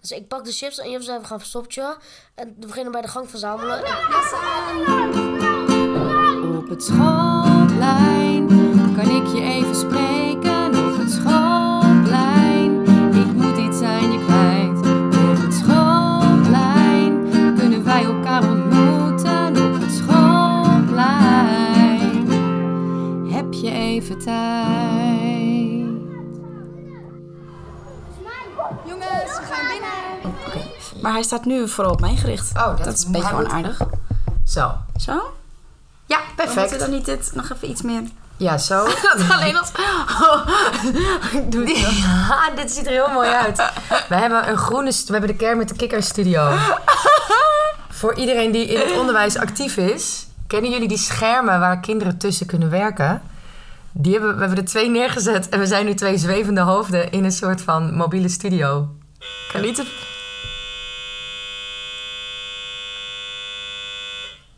Dus ik pak de chips en Jim zei, we gaan verstopje. En we beginnen bij de gang verzamelen. En Op het schoolplein kan ik je even spreken. Op het schoolplein, ik moet iets aan je kwijt. Op het schoolplein kunnen wij elkaar ontmoeten. Op het schoolplein heb je even tijd. Jongens, we gaan binnen. Maar hij staat nu vooral op mij gericht. Oh, dat dat is een beetje moet- onaardig. Zo. Zo? Ja, We moeten dan perfect. niet dit nog even iets meer... Ja, zo. Dat alleen als... Oh. ik doe het Ja, dit ziet er heel mooi uit. We hebben een groene... stu- We hebben de Care met de Kikker studio. Voor iedereen die in het onderwijs actief is... Kennen jullie die schermen waar kinderen tussen kunnen werken? Die hebben, we hebben er twee neergezet en we zijn nu twee zwevende hoofden in een soort van mobiele studio. wel. Niet te-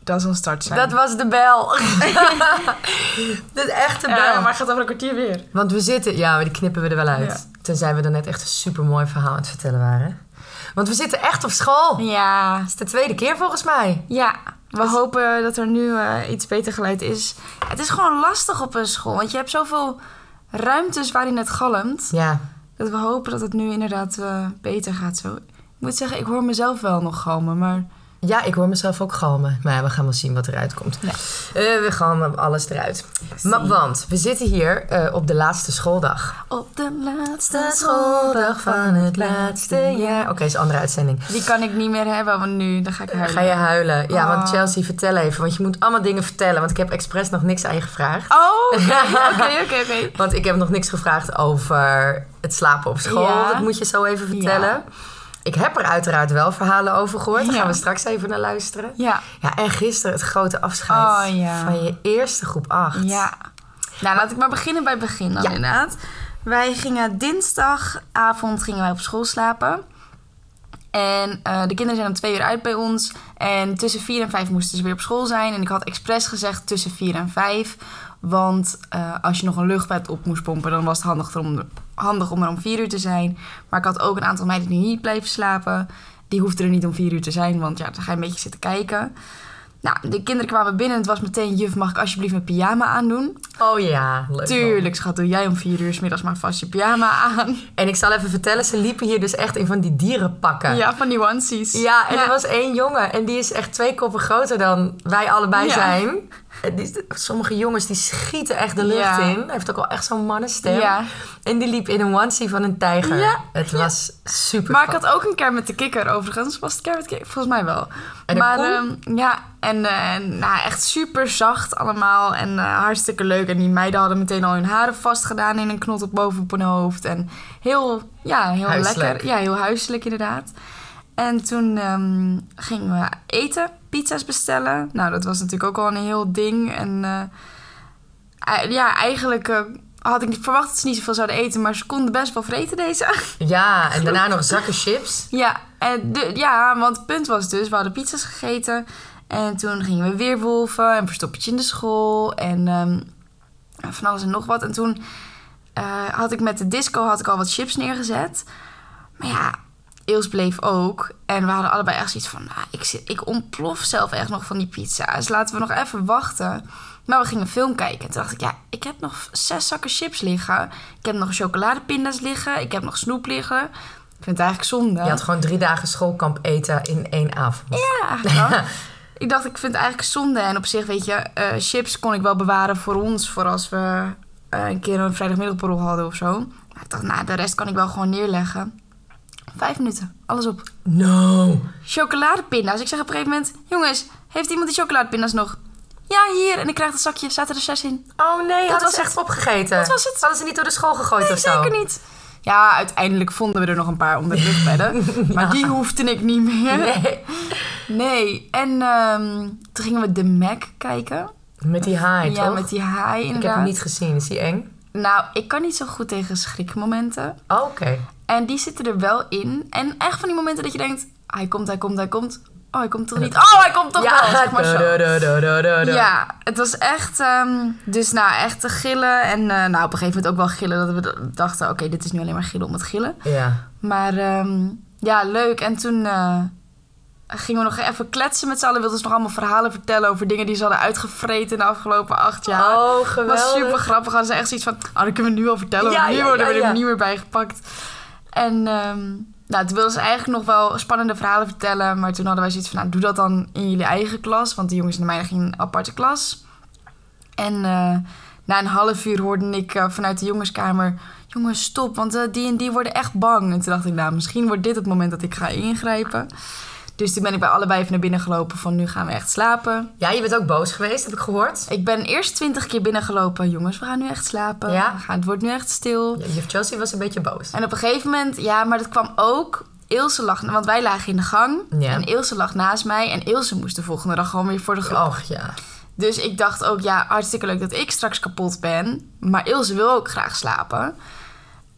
Dat is een start zijn. Dat was de bel. de echte bel. maar gaat over een kwartier weer. Want we zitten, ja, maar die knippen we er wel uit. Tenzij we dan net echt een supermooi verhaal aan het vertellen waren. Want we zitten echt op school. Het Ja. is de tweede keer volgens mij. Ja. We hopen dat er nu eh, iets beter geleid is. Het is gewoon lastig op een school. Want je hebt zoveel ruimtes waarin het galmt. Ja, Dat we hopen dat het nu inderdaad eh, beter gaat zo. Ik moet zeggen, ik hoor mezelf wel nog galmen. Maar Ja, ik hoor mezelf ook galmen. Maar ja, we gaan wel zien wat eruit komt. Eh, we galmen alles eruit. Maar, want we zitten hier eh, op de laatste schooldag. op de laatste De schooldag schooldag van... van het laatste jaar. Oké, is een andere uitzending. Die kan ik niet meer hebben, want nu dan ga ik huilen. Ga je huilen? Ja, want Oh. Chelsea, vertel even. Want je moet allemaal dingen vertellen. Want ik heb expres nog niks aan je gevraagd. Oh, oké, oké, oké, oké. Want ik heb nog niks gevraagd over het slapen op school. Ja. Dat moet je zo even vertellen. Ja. Ik heb er uiteraard wel verhalen over gehoord. Daar Ja. gaan we straks even naar luisteren. Ja, Ja, en gisteren het grote afscheid Oh, ja. van je eerste groep 8. ja. Nou, laat ik maar beginnen bij het begin dan Ja. inderdaad. Wij gingen dinsdagavond gingen wij op school slapen. En eh, de kinderen zijn om twee uur uit bij ons. En tussen vier en vijf moesten ze weer op school zijn. En ik had expres gezegd tussen vier en vijf. Want eh, als je nog een luchtbed op moest pompen, dan was het handig om, handig om er om vier uur te zijn. Maar ik had ook een aantal meiden die niet bleven slapen. Die hoefden er niet om vier uur te zijn, want ja, dan ga je een beetje zitten kijken. Nou, de kinderen kwamen binnen en het was meteen... juf, mag ik alsjeblieft mijn pyjama aandoen? Oh ja, leuk. man. Tuurlijk, schat, doe jij om vier uur 's middags maar vast je pyjama aan. En ik zal even vertellen, ze liepen hier dus echt in van die dierenpakken. Ja, van die onesies. Ja, en er was één jongen en die is echt twee koppen groter dan wij allebei Ja. zijn. En die- sommige jongens die schieten echt de lucht Ja. in. Hij heeft ook wel echt zo'n mannenstem. Ja. En die liep in een onesie van een tijger. Ja, Het was super Maar ik had ook een keer met de kikker overigens. Was het keer met de kikker? Volgens mij wel. En een maar koe? ehm, ja, en eh, nou, echt super zacht allemaal. En eh, hartstikke leuk. En die meiden hadden meteen al hun haren vastgedaan in een knot op boven op hun hoofd. En heel, ja, heel Huiselijk. lekker. Ja, heel huiselijk inderdaad. En toen ehm, gingen we eten, pizza's bestellen. Nou, dat was natuurlijk ook al een heel ding. En eh, eh, ja, eigenlijk eh, had ik verwacht dat ze niet zoveel zouden eten. Maar ze konden best wel vreten deze. Ja, en daarna nog zakken chips. Ja, en de- ja, want het punt was dus, we hadden pizza's gegeten. En toen gingen we weer wolven en verstoppertje in de school. En ehm, van alles en nog wat. En toen eh, had ik met de disco had ik al wat chips neergezet. Maar ja, Eels bleef ook. En we hadden allebei echt zoiets van... Nou, ik, zit, ik ontplof zelf echt nog van die pizza. Dus laten we nog even wachten. Maar we gingen een film kijken. En toen dacht ik, ja, ik heb nog zes zakken chips liggen. Ik heb nog chocoladepinda's liggen. Ik heb nog snoep liggen. Ik vind het eigenlijk zonde. Je had gewoon drie dagen schoolkamp eten in één avond. Ja, eigenlijk wel. ik dacht, ik vind het eigenlijk zonde. En op zich, weet je, eh, chips kon ik wel bewaren voor ons. Voor als we eh, een keer een vrijdagmiddagborrel hadden of zo. Maar ik dacht, nou, de rest kan ik wel gewoon neerleggen. Vijf minuten, alles op. No. Chocoladepinda's. Ik zeg op een gegeven moment, jongens, heeft iemand die chocoladepinda's nog? Ja, hier. En ik krijg het zakje. Zaten er zes in? Oh nee, dat was was het. echt opgegeten. Dat was het. Hadden ze niet door de school gegooid Nee, of zo? zeker niet. Ja, uiteindelijk vonden we er nog een paar onder de luchtbedden. Maar die hoefde ik niet meer. Nee. Nee. En ehm, toen gingen we de Mac kijken. Met die haai, Ja, toch? met die haai Ik heb hem inderdaad. niet gezien. Is die eng? Nou, ik kan niet zo goed tegen schrikmomenten. Oh, Oké. En die zitten er wel in. En echt van die momenten dat je denkt... Hij komt, hij komt, hij komt. Oh, hij komt toch niet. Oh, hij komt toch wel. Zeg maar zo. do, do, do, do, do, do. Ja, het was echt... ehm, dus nou, echt te gillen. En eh, nou, op een gegeven moment ook wel gillen. Dat we d- dachten, oké, dit is nu alleen maar gillen om het gillen. Ja. Maar ehm, Ja, leuk. En toen eh, gingen we nog even kletsen met z'n allen. Wilden ze nog allemaal verhalen vertellen over dingen die ze hadden uitgevreten in de afgelopen acht jaar. Oh, Het was geweldig. super grappig. Hadden ze echt zoiets van, oh, dat kunnen we nu al vertellen. Ja, want nu ja, worden ja, we er ja. niet meer bij gepakt. En ehm, nou, toen wilden ze eigenlijk nog wel spannende verhalen vertellen. Maar toen hadden wij zoiets van, nou, doe dat dan in jullie eigen klas. Want die jongens en de meiden gingen in een aparte klas. En eh, na een half uur hoorde ik eh, vanuit de jongenskamer... Jongens, stop, want eh, die en die worden echt bang. En toen dacht ik, nou, misschien wordt dit het moment dat ik ga ingrijpen. Dus toen ben ik bij allebei even naar binnen gelopen van nu gaan we echt slapen. Ja, je bent ook boos geweest, heb ik gehoord. Ik ben eerst twintig keer binnengelopen. Jongens, we gaan nu echt slapen. Ja. We gaan, het wordt nu echt stil. Ja, juf Chelsea was een beetje boos. En op een gegeven moment, ja, maar dat kwam ook. Ilse lag, want wij lagen in de gang. Ja. En Ilse lag naast mij. En Ilse moest de volgende dag gewoon weer voor de groep. Och ja. Dus ik dacht ook, ja, hartstikke leuk dat ik straks kapot ben. Maar Ilse wil ook graag slapen.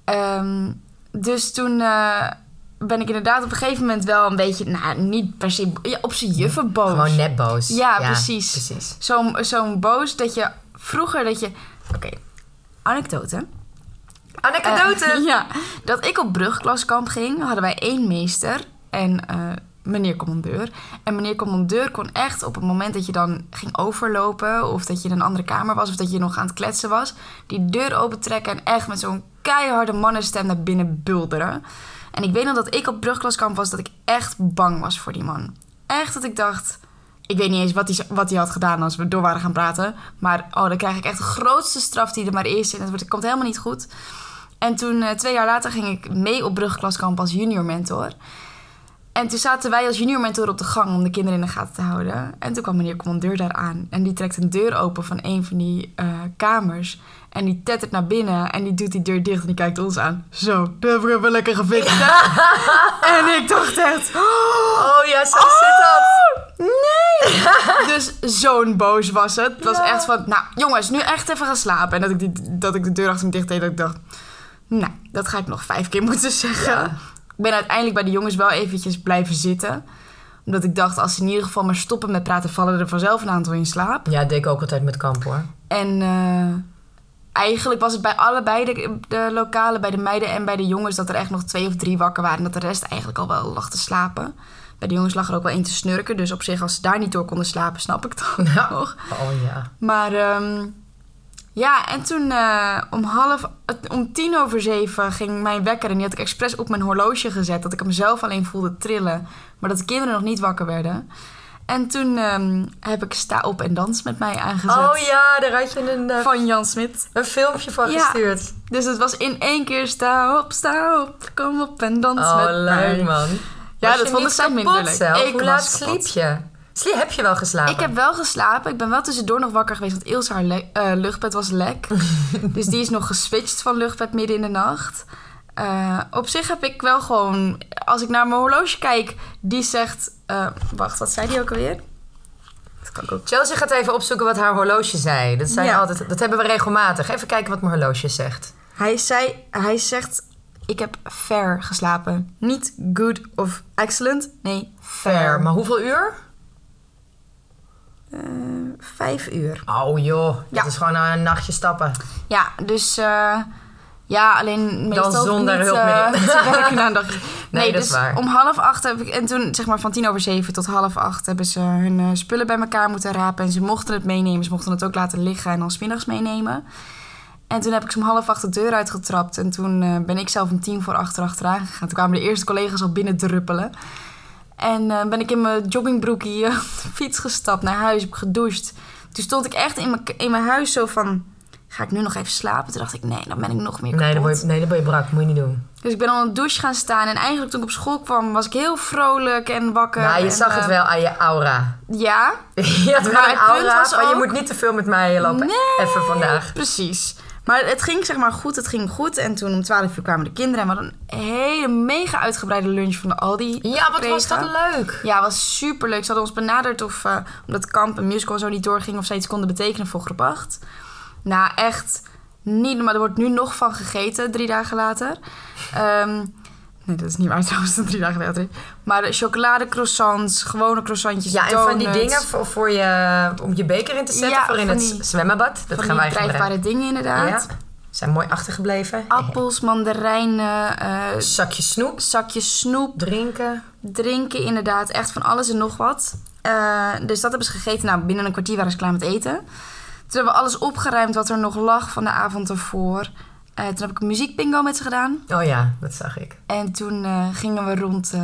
Ehm, dus toen eh, ben ik inderdaad op een gegeven moment wel een beetje, nou, niet per se, ja, op zijn juffen boos. Gewoon net boos. Ja, precies. precies. Zo'n zo'n boos dat je vroeger dat je. Oké, anekdote. Anekdote! Eh, ja, dat ik op brugklaskamp ging, hadden wij één meester en eh, meneer commandeur. En meneer commandeur kon echt op het moment dat je dan ging overlopen... of dat je in een andere kamer was of dat je nog aan het kletsen was... die deur opentrekken en echt met zo'n keiharde mannenstem naar binnen bulderen. En ik weet nog dat ik op brugklaskamp was dat ik echt bang was voor die man. Echt dat ik dacht... Ik weet niet eens wat hij, wat hij had gedaan als we door waren gaan praten. Maar oh, dan krijg ik echt de grootste straf die er maar is. En het wordt- het komt helemaal niet goed. En toen, eh, twee jaar later, ging ik mee op brugklaskamp als junior mentor. En toen zaten wij als junior mentor op de gang om de kinderen in de gaten te houden. En toen kwam meneer commandeur daar aan. En die trekt een deur open van een van die eh, kamers. En die tettert naar binnen en die doet die deur dicht en die kijkt ons aan. Zo, daar hebben we even lekker gefixt. hè? En ik dacht echt, Oh ja, zo zit dat. Dus zo'n boos was het. Het was echt van, nou jongens, nu echt even gaan slapen. En dat ik, die, dat ik de deur achter me dicht deed, dat ik dacht... Nou, dat ga ik nog vijf keer moeten zeggen. Ik ben uiteindelijk bij de jongens wel eventjes blijven zitten. Omdat ik dacht, als ze in ieder geval maar stoppen met praten... vallen er vanzelf een aantal in slaap. Ja, dat deed ik ook altijd met kamp hoor. En eh, eigenlijk was het bij allebei de, de lokalen, bij de meiden en bij de jongens, dat er echt nog twee of drie wakker waren. En dat de rest eigenlijk al wel lag te slapen. Bij de jongens lag er ook wel één te snurken. Dus op zich, als ze daar niet door konden slapen, snap ik het ook Ja. nog. Oh ja. Maar ehm, ja, en toen eh, om half, het- om tien over zeven ging mijn wekker. En die had ik expres op mijn horloge gezet. Dat ik hem zelf alleen voelde trillen. Maar dat de kinderen nog niet wakker werden. En toen ehm, heb ik Sta op en dans met mij aangezet. Oh ja, daar had je een, eh, Van Jan Smit. een filmpje van Ja. gestuurd. Dus het was in één keer sta op, sta op, kom op en dans Oh, met mij. leuk man. Ja, Was dat je vonden niet zij minder kapot leuk. zelf? Ik Hoe laat was sliep kapot. je? Slie- heb je wel geslapen? Ik heb wel geslapen. Ik ben wel tussendoor nog wakker geweest, want Ilse haar le- eh, luchtbed was lek. dus die is nog geswitcht van luchtbed midden in de nacht. Eh, op zich heb ik wel gewoon, als ik naar mijn horloge kijk, die zegt... eh, wacht, wat zei die ook alweer? Dat kan ik ook. Chelsea gaat even opzoeken wat haar horloge zei. Dat, zijn Ja. altijd, dat hebben we regelmatig. Even kijken wat mijn horloge zegt. Hij, zei, hij zegt, ik heb fair geslapen. Niet good of excellent, nee, fair. Ver, maar hoeveel uur? Eh, vijf uur. Oh joh, Ja. dat is gewoon een nachtje stappen. Ja, dus eh, ja, alleen meestal hoef ik zonder niet, hulpmiddel. eh, te werken na een dagje. Nee, dat dus is waar. om half acht heb ik... En toen zeg maar van tien over zeven tot half acht... hebben ze hun eh, spullen bij elkaar moeten rapen. En ze mochten het meenemen. Ze mochten het ook laten liggen en dan 's middags meenemen. En toen heb ik ze om half acht de deur uitgetrapt. En toen eh, ben ik zelf om tien voor achter achteraan gegaan. Toen kwamen de eerste collega's al binnen druppelen. En eh, ben ik in mijn joggingbroekie eh, op de fiets gestapt naar huis. Heb ik gedoucht. Toen stond ik echt in mijn, in mijn huis zo van... Ga ik nu nog even slapen? Toen dacht ik, nee, dan ben ik nog meer kapot. Nee dan, word je, nee, dan ben je brak. Moet je niet doen. Dus ik ben onder de douche gaan staan. En eigenlijk toen ik op school kwam, was ik heel vrolijk en wakker. Maar Nou, je en, zag het eh, wel aan je aura. Ja, Je Maar had wel het een punt aura was van je ook- moet niet te veel met mij lopen. Nee. Even vandaag. precies. Maar het ging zeg maar goed, het ging goed. En toen om 12 uur kwamen de kinderen. En we hadden een hele mega uitgebreide lunch van de Aldi. Ja, wat was dat gekregen. leuk. Ja, was superleuk. Ze hadden ons benaderd of eh, omdat kamp en musical zo niet doorging... of ze iets konden betekenen voor groep 8. Nou, echt niet... Maar er wordt nu nog van gegeten, drie dagen later. Ehm, nee, dat is niet waar trouwens, dat drie dagen later. is. Maar eh, chocoladecroissants, gewone croissantjes, Ja, en van die donuts, dingen voor, voor je, om je beker in te zetten Ja, voor in van het die- zwembad. Dat van gaan die wij gebruiken. drijfbare dingen inderdaad. Ja. Zijn mooi achtergebleven. Appels, mandarijnen, eh, Zakje snoep. zakjes snoep, Drinken. drinken inderdaad. Echt van alles en nog wat. Eh, dus dat hebben ze gegeten. Nou, binnen een kwartier waren ze klaar met eten. Toen hebben we alles opgeruimd wat er nog lag van de avond ervoor. Eh, toen heb ik een muziekbingo met ze gedaan. Oh ja, dat zag ik. En toen eh, gingen we rond eh,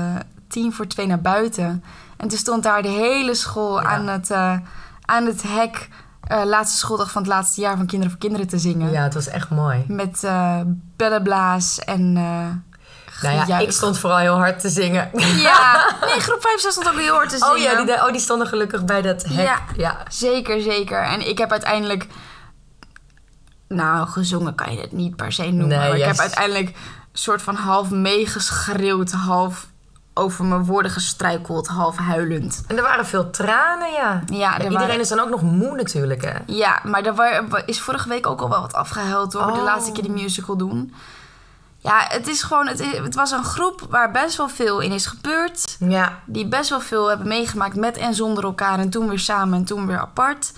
tien voor twee naar buiten. En toen stond daar de hele school Ja. aan, het, eh, aan het hek... eh, laatste schooldag van het laatste jaar van Kinderen voor Kinderen te zingen. Ja, het was echt mooi. Met eh bellenblaas en... eh Nou ja, gejuich. ik stond vooral heel hard te zingen. Ja, nee, groep 5 6 stond ook heel hard te zingen. Oh ja, die, oh, die stonden gelukkig bij dat hek. Ja. ja. Zeker, zeker. En ik heb uiteindelijk... Nou, gezongen kan je het niet per se noemen. Nee, maar ik juist. heb uiteindelijk een soort van half meegeschreeuwd, half over mijn woorden gestruikeld, half huilend. En er waren veel tranen, ja. Ja, er iedereen waren- is dan ook nog moe natuurlijk, hè. Ja, maar er wa- wa- is vorige week ook al wel wat afgehuild hoor. De Oh. laatste keer de musical doen. Ja, het is gewoon... Het, i- het was een groep waar best wel veel in is gebeurd. Ja, Die best wel veel hebben meegemaakt met en zonder elkaar. En toen weer samen en toen weer apart.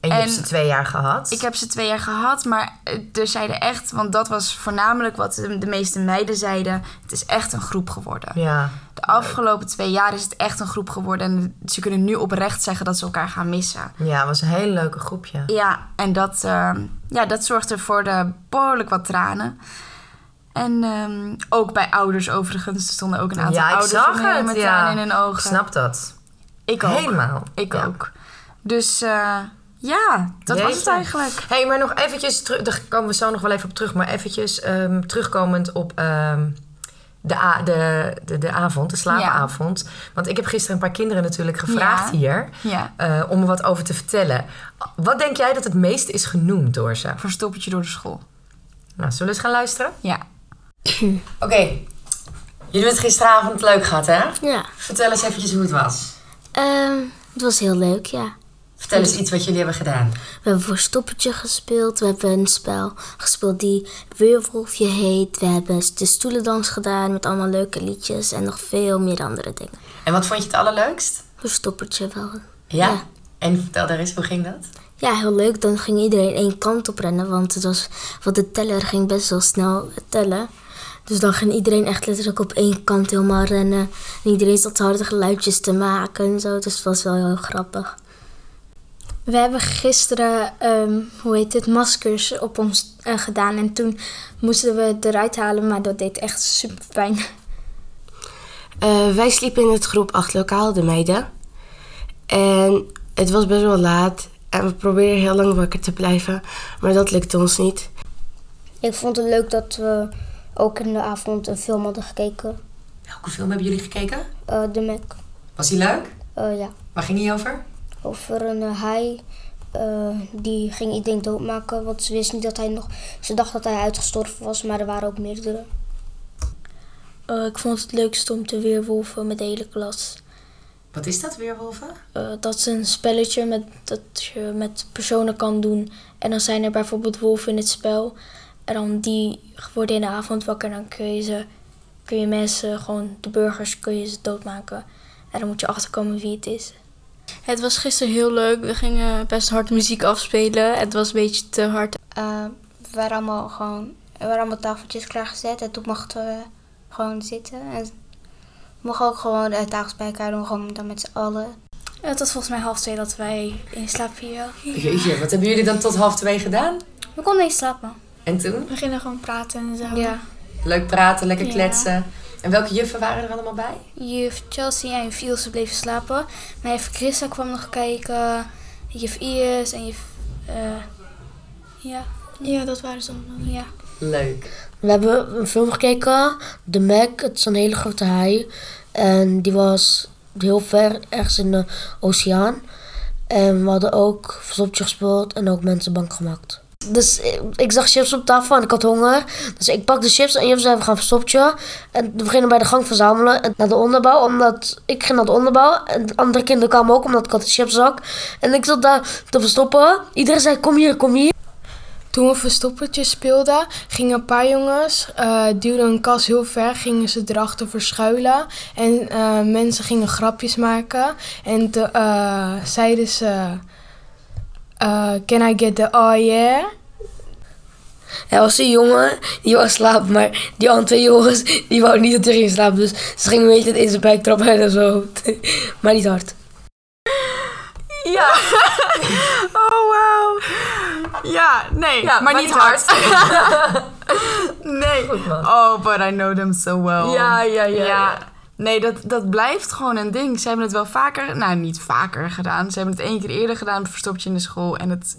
en je En- hebt ze twee jaar gehad. Ik heb ze twee jaar gehad, maar eh, er zeiden echt, want dat was voornamelijk wat de de meeste meiden zeiden. Het is echt een groep geworden. Ja, De afgelopen twee jaar is het echt een groep geworden. En ze kunnen nu oprecht zeggen dat ze elkaar gaan missen. ja, het was een hele leuke groepje. Ja, en dat, eh, ja, dat zorgde voor de behoorlijk wat tranen. En ehm, ook bij ouders overigens. Er stonden ook een aantal Ja, ik ouders zag om heen het, met ja. tranen in hun Ik ogen. snap dat. Ik ook. Helemaal. Ik Ja. ook. Dus eh, ja, dat was het Jeetje. eigenlijk. Hé, hey, maar nog eventjes, teru- daar komen we zo nog wel even op terug, maar eventjes ehm, terugkomend op ehm, de, a- de, de, de avond, de slaapavond. Want ik heb gisteren een paar kinderen natuurlijk gevraagd Ja. hier Ja. eh, om er wat over te vertellen. Wat denk jij dat het meest is genoemd door ze? Verstoppertje door de school. Nou, zullen we eens gaan luisteren? Ja. Oké, jullie hebben het gisteravond leuk gehad, hè? Ja. Vertel eens eventjes hoe het was. Ehm, het was heel leuk, ja. Vertel eens iets wat jullie hebben gedaan. We hebben verstoppertje gespeeld. We hebben een spel gespeeld die Weerwolfje heet. We hebben de stoelendans gedaan met allemaal leuke liedjes en nog veel meer andere dingen. En wat vond je het allerleukst? Verstoppertje wel. Ja. Ja. En vertel daar eens, hoe ging dat? Ja, heel leuk. Dan ging iedereen één kant op rennen, want, het was, want de teller ging best wel snel tellen. Dus dan ging iedereen echt letterlijk op één kant helemaal rennen. En iedereen zat harde geluidjes te maken en zo. Dus het was wel heel grappig. We hebben gisteren, ehm, hoe heet het, maskers op ons eh, gedaan. En toen moesten we het eruit halen, maar dat deed echt super pijn. Eh, wij sliepen in het groep 8 lokaal, de meiden. En het was best wel laat. En we probeerden heel lang wakker te blijven. Maar dat lukte ons niet. Ik vond het leuk dat we ook in de avond een film hadden gekeken. Welke film hebben jullie gekeken? Eh, de Mac. Was die leuk? Eh, ja. Waar ging die over? Over een eh, haai. eh, die ging iedereen doodmaken. Want ze wist niet dat hij nog. Ze dacht dat hij uitgestorven was, maar er waren ook meerdere. Eh, ik vond het leukst om te weerwolven met de hele klas. Wat is dat, Weerwolven? Eh, dat is een spelletje met, dat je met personen kan doen. En dan zijn er bijvoorbeeld wolven in het spel. En dan die worden in de avond wakker. En dan kun je, ze, kun je mensen, gewoon de burgers, kun je ze doodmaken. En dan moet je achterkomen wie het is. Het was gisteren heel leuk. We gingen best hard muziek afspelen. Het was een beetje te hard. Eh, we waren allemaal gewoon. Er waren allemaal tafeltjes klaargezet. En toen mochten we gewoon zitten. En mochten ook gewoon de tafels bij elkaar doen. Gewoon dan met z'n allen. Het was Eh, volgens mij half twee dat wij in slaap vielen. Jeetje, wat hebben jullie dan tot half twee gedaan? We konden niet slapen. En toen? We gingen gewoon praten en zo. Ja. Leuk praten, lekker Ja. kletsen. En welke juffen waren er allemaal bij? Juf Chelsea en juf Ilse bleven slapen. Maar juf Christa kwam nog kijken. Juf Iris en juf... eh, ja. Ja, dat waren ze allemaal. ja. Leuk. We hebben een film gekeken, The Mac. Het is een hele grote haai. En die was heel ver, ergens in de oceaan. En we hadden ook verstoppertje gespeeld en ook mensen bang gemaakt. Dus ik, ik zag chips op tafel en ik had honger. Dus ik pakte chips en juf zei, we gaan verstoppertje. En we gingen bij de gang verzamelen en naar de onderbouw. Omdat ik ging naar de onderbouw. En de andere kinderen kwamen ook, omdat ik had een chipszak. En ik zat daar te verstoppen. Iedereen zei, kom hier, kom hier. Toen we verstoppertje speelden, gingen een paar jongens, eh, duwden een kas heel ver, gingen ze erachter verschuilen. En eh, mensen gingen grapjes maken. En te- eh, zeiden ze, eh, can I get the oh yeah? Hij was een jongen die wou slapen, maar die andere twee jongens die wou niet dat hij ging slapen. Dus ze gingen een beetje in zijn buik trappen en zo. maar niet hard. Ja. oh, wauw. Ja, nee. Ja, maar, maar niet niet hard. nee. Oh, but I know them so well. Ja, ja, ja, ja. Nee, dat, dat blijft gewoon een ding. Ze hebben het wel vaker... Nou, niet vaker gedaan. Ze hebben het één keer eerder gedaan. Het verstoptje in de school. En het...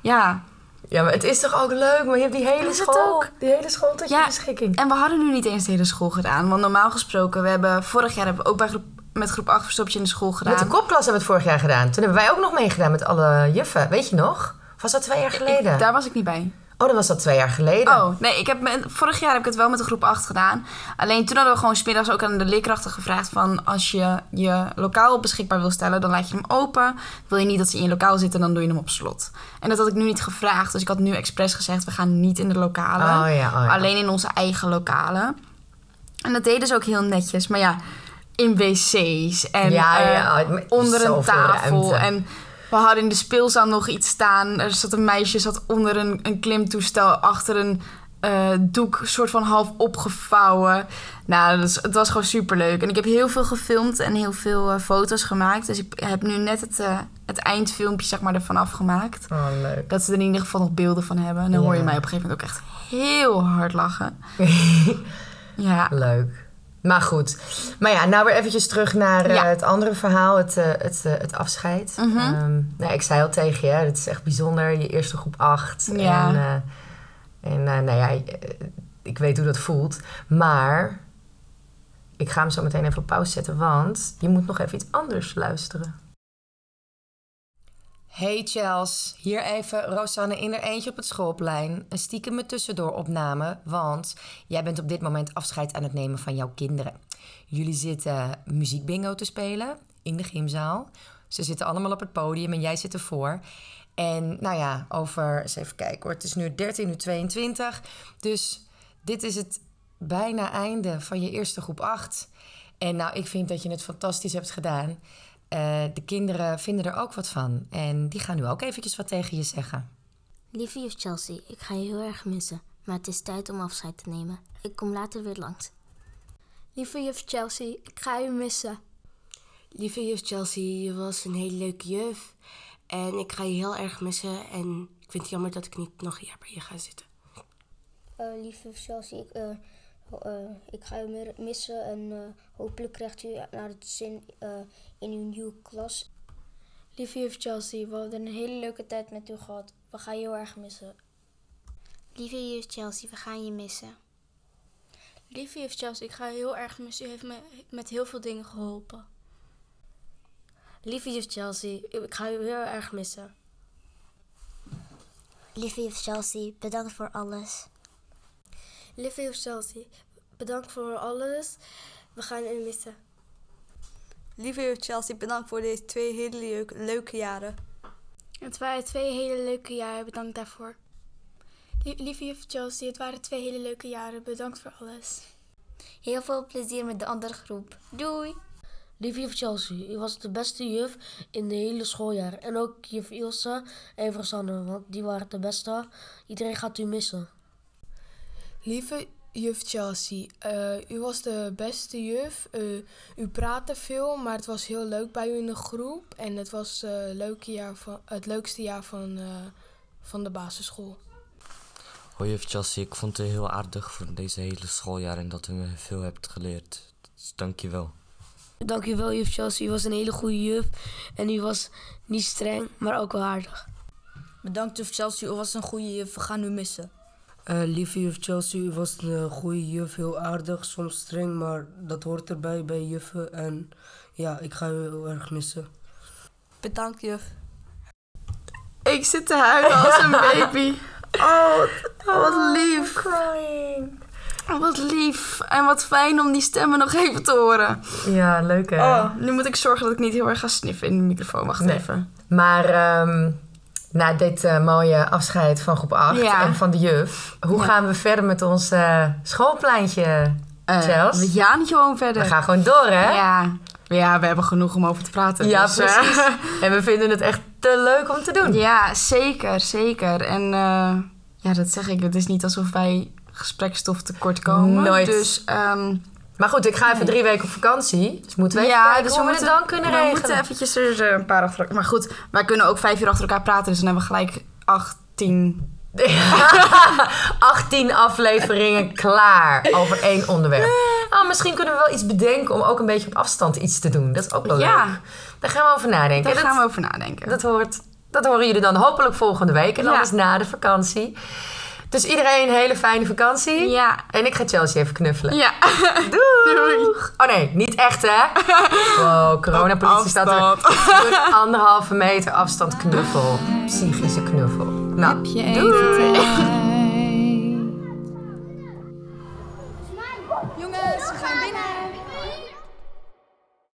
Ja. Ja, maar het is toch ook leuk? Maar je hebt die hele Is het school. ook? Die Oh, hele school tot je beschikking. En we hadden nu niet eens de hele school gedaan. Want normaal gesproken, we hebben... Vorig jaar hebben we ook bij groep, met groep 8 verstoptje in de school gedaan. Met de kopklas hebben we het vorig jaar gedaan. Toen hebben wij ook nog meegedaan met alle juffen. Weet je nog? Of was dat twee jaar geleden? Ik- daar was ik niet bij. Oh, dan was dat twee jaar geleden. Oh, nee, ik heb me- vorig jaar heb ik het wel met de groep 8 gedaan. Alleen toen hadden we gewoon smiddags ook aan de leerkrachten gevraagd van... als je je lokaal beschikbaar wil stellen, dan laat je hem open. Wil je niet dat ze in je lokaal zitten, dan doe je hem op slot. En dat had ik nu niet gevraagd, dus ik had nu expres gezegd... we gaan niet in de lokalen, Oh ja, oh ja. alleen in onze eigen lokalen. En dat deden ze ook heel netjes, maar ja... In wc's en Ja, eh, ja, oh, met onder een zoveel tafel. ruimte. En we hadden in de speelzaal nog iets staan. Er zat een meisje zat onder een, een klimtoestel achter een eh, doek, soort van half opgevouwen. Nou, dat is- het was gewoon superleuk. En ik heb heel veel gefilmd en heel veel eh, foto's gemaakt. Dus ik heb nu net het, eh, het eindfilmpje zeg maar, ervan afgemaakt. Oh, leuk. Dat ze er in ieder geval nog beelden van hebben. En dan hoor je Ja. mij op een gegeven moment ook echt heel hard lachen. ja. Leuk. Maar goed. Maar ja, nou weer eventjes terug naar eh, Ja. het andere verhaal, het, eh, het, eh, het afscheid. Mhm. Ehm, nou, ik zei al tegen je, het is echt bijzonder, je eerste groep 8. Ja. En, eh, en eh, nou ja, eh, ik weet hoe dat voelt. Maar ik ga hem zo meteen even op pauze zetten, want je moet nog even iets anders luisteren. Hey Chels, hier even Rosanne in haar eentje op het schoolplein. Een stiekem me tussendoor opname, want jij bent op dit moment afscheid aan het nemen van jouw kinderen. Jullie zitten muziekbingo te spelen in de gymzaal. Ze zitten allemaal op het podium en jij zit ervoor. En nou ja, over, eens even kijken hoor, het is nu 13 uur 22. Dus dit is het bijna einde van je eerste groep 8. En nou, ik vind dat je het fantastisch hebt gedaan. Eh, de kinderen vinden er ook wat van. En die gaan nu ook eventjes wat tegen je zeggen. Lieve juf Chelsea, ik ga je heel erg missen, maar het is tijd om afscheid te nemen. Ik kom later weer langs. Lieve juf Chelsea, ik ga je missen. Lieve juf Chelsea, je was een hele leuke juf. En ik ga je heel erg missen. En ik vind het jammer dat ik niet nog een jaar bij je ga zitten. Eh, lieve Chelsea, ik, eh, ho- eh, ik ga u meer missen en eh, hopelijk krijgt u naar het zin eh, in uw nieuwe klas. Lieve juf Chelsea, we hadden een hele leuke tijd met u gehad. We gaan je heel erg missen. Lieve juf Chelsea, we gaan je missen. Lieve juf Chelsea, ik ga je heel erg missen. U heeft me met heel veel dingen geholpen. Lieve juf Chelsea, ik ga je heel erg missen. Lieve juf Chelsea, bedankt voor alles. Lieve juf Chelsea, bedankt voor alles. We gaan u missen. Lieve juf Chelsea, bedankt voor deze twee hele leuk- leuke jaren. Het waren twee hele leuke jaren, bedankt daarvoor. Lieve juf Chelsea, het waren twee hele leuke jaren, bedankt voor alles. Heel veel plezier met de andere groep. Doei! Lieve juf Chelsea, u was de beste juf in de hele schooljaar. En ook juf Ilse en Rosanne, want die waren de beste. Iedereen gaat u missen. Lieve juf Chelsea, eh, u was de beste juf. Eh, u praatte veel, maar het was heel leuk bij u in de groep. En het was eh, leuke jaar van, het leukste jaar van, eh, van de basisschool. Hoi juf Chelsea, ik vond het heel aardig voor deze hele schooljaar en dat u me veel hebt geleerd. Dus dank je wel. Dankjewel juf Chelsea, u was een hele goede juf. En u was niet streng, maar ook wel aardig. Bedankt juf Chelsea, u was een goede juf. We gaan u missen. Eh, lieve juf Chelsea, u was een eh, goede juf, heel aardig, soms streng, maar dat hoort erbij bij juffen. En ja, ik ga u heel erg missen. Bedankt juf. Ik zit te huilen als een baby. Oh, wat- oh, wat lief. Oh, wat lief. En wat fijn om die stemmen nog even te horen. Ja, leuk hè? Oh, nu moet ik zorgen dat ik niet heel erg ga sniffen in de microfoon. Wacht Nee. even. Maar ehm, na dit eh, mooie afscheid van groep 8 Ja. en van de juf, hoe Ja. gaan we verder met ons eh, schoolpleintje, Chels? Eh, we gaan niet gewoon verder. We gaan gewoon door, hè? Ja. Ja, we hebben genoeg om over te praten. Ja, dus, eh, precies. en we vinden het echt te leuk om te doen. Ja, zeker, zeker. En eh, Ja, dat zeg ik. Het is niet alsof wij gesprekstof tekort komen. Nooit. Dus, ehm, Maar goed, ik ga even Nee. drie weken op vakantie. Dus moeten we even ja, kijken dus hoe we, moeten- het dan kunnen regelen. We moeten eventjes er eh, een paar achter elkaar. Maar goed, wij kunnen ook vijf uur achter elkaar praten. Dus dan hebben we gelijk 18. 18 afleveringen klaar over één onderwerp. Ah, misschien kunnen we wel iets bedenken om ook een beetje op afstand iets te doen. Dat is ook wel Ja. leuk. Daar gaan we over nadenken. Daar Dat- gaan we over nadenken. Dat, hoort, dat horen jullie dan hopelijk volgende week. En Ja. anders na de vakantie. Dus iedereen een hele fijne vakantie. Ja. En ik ga Chelsea even knuffelen. Ja. Doeg! Oh nee, niet echt hè? Wow, coronapolitie staat er. Doe een anderhalve meter afstand knuffel. Psychische knuffel. Nou, je even tijd?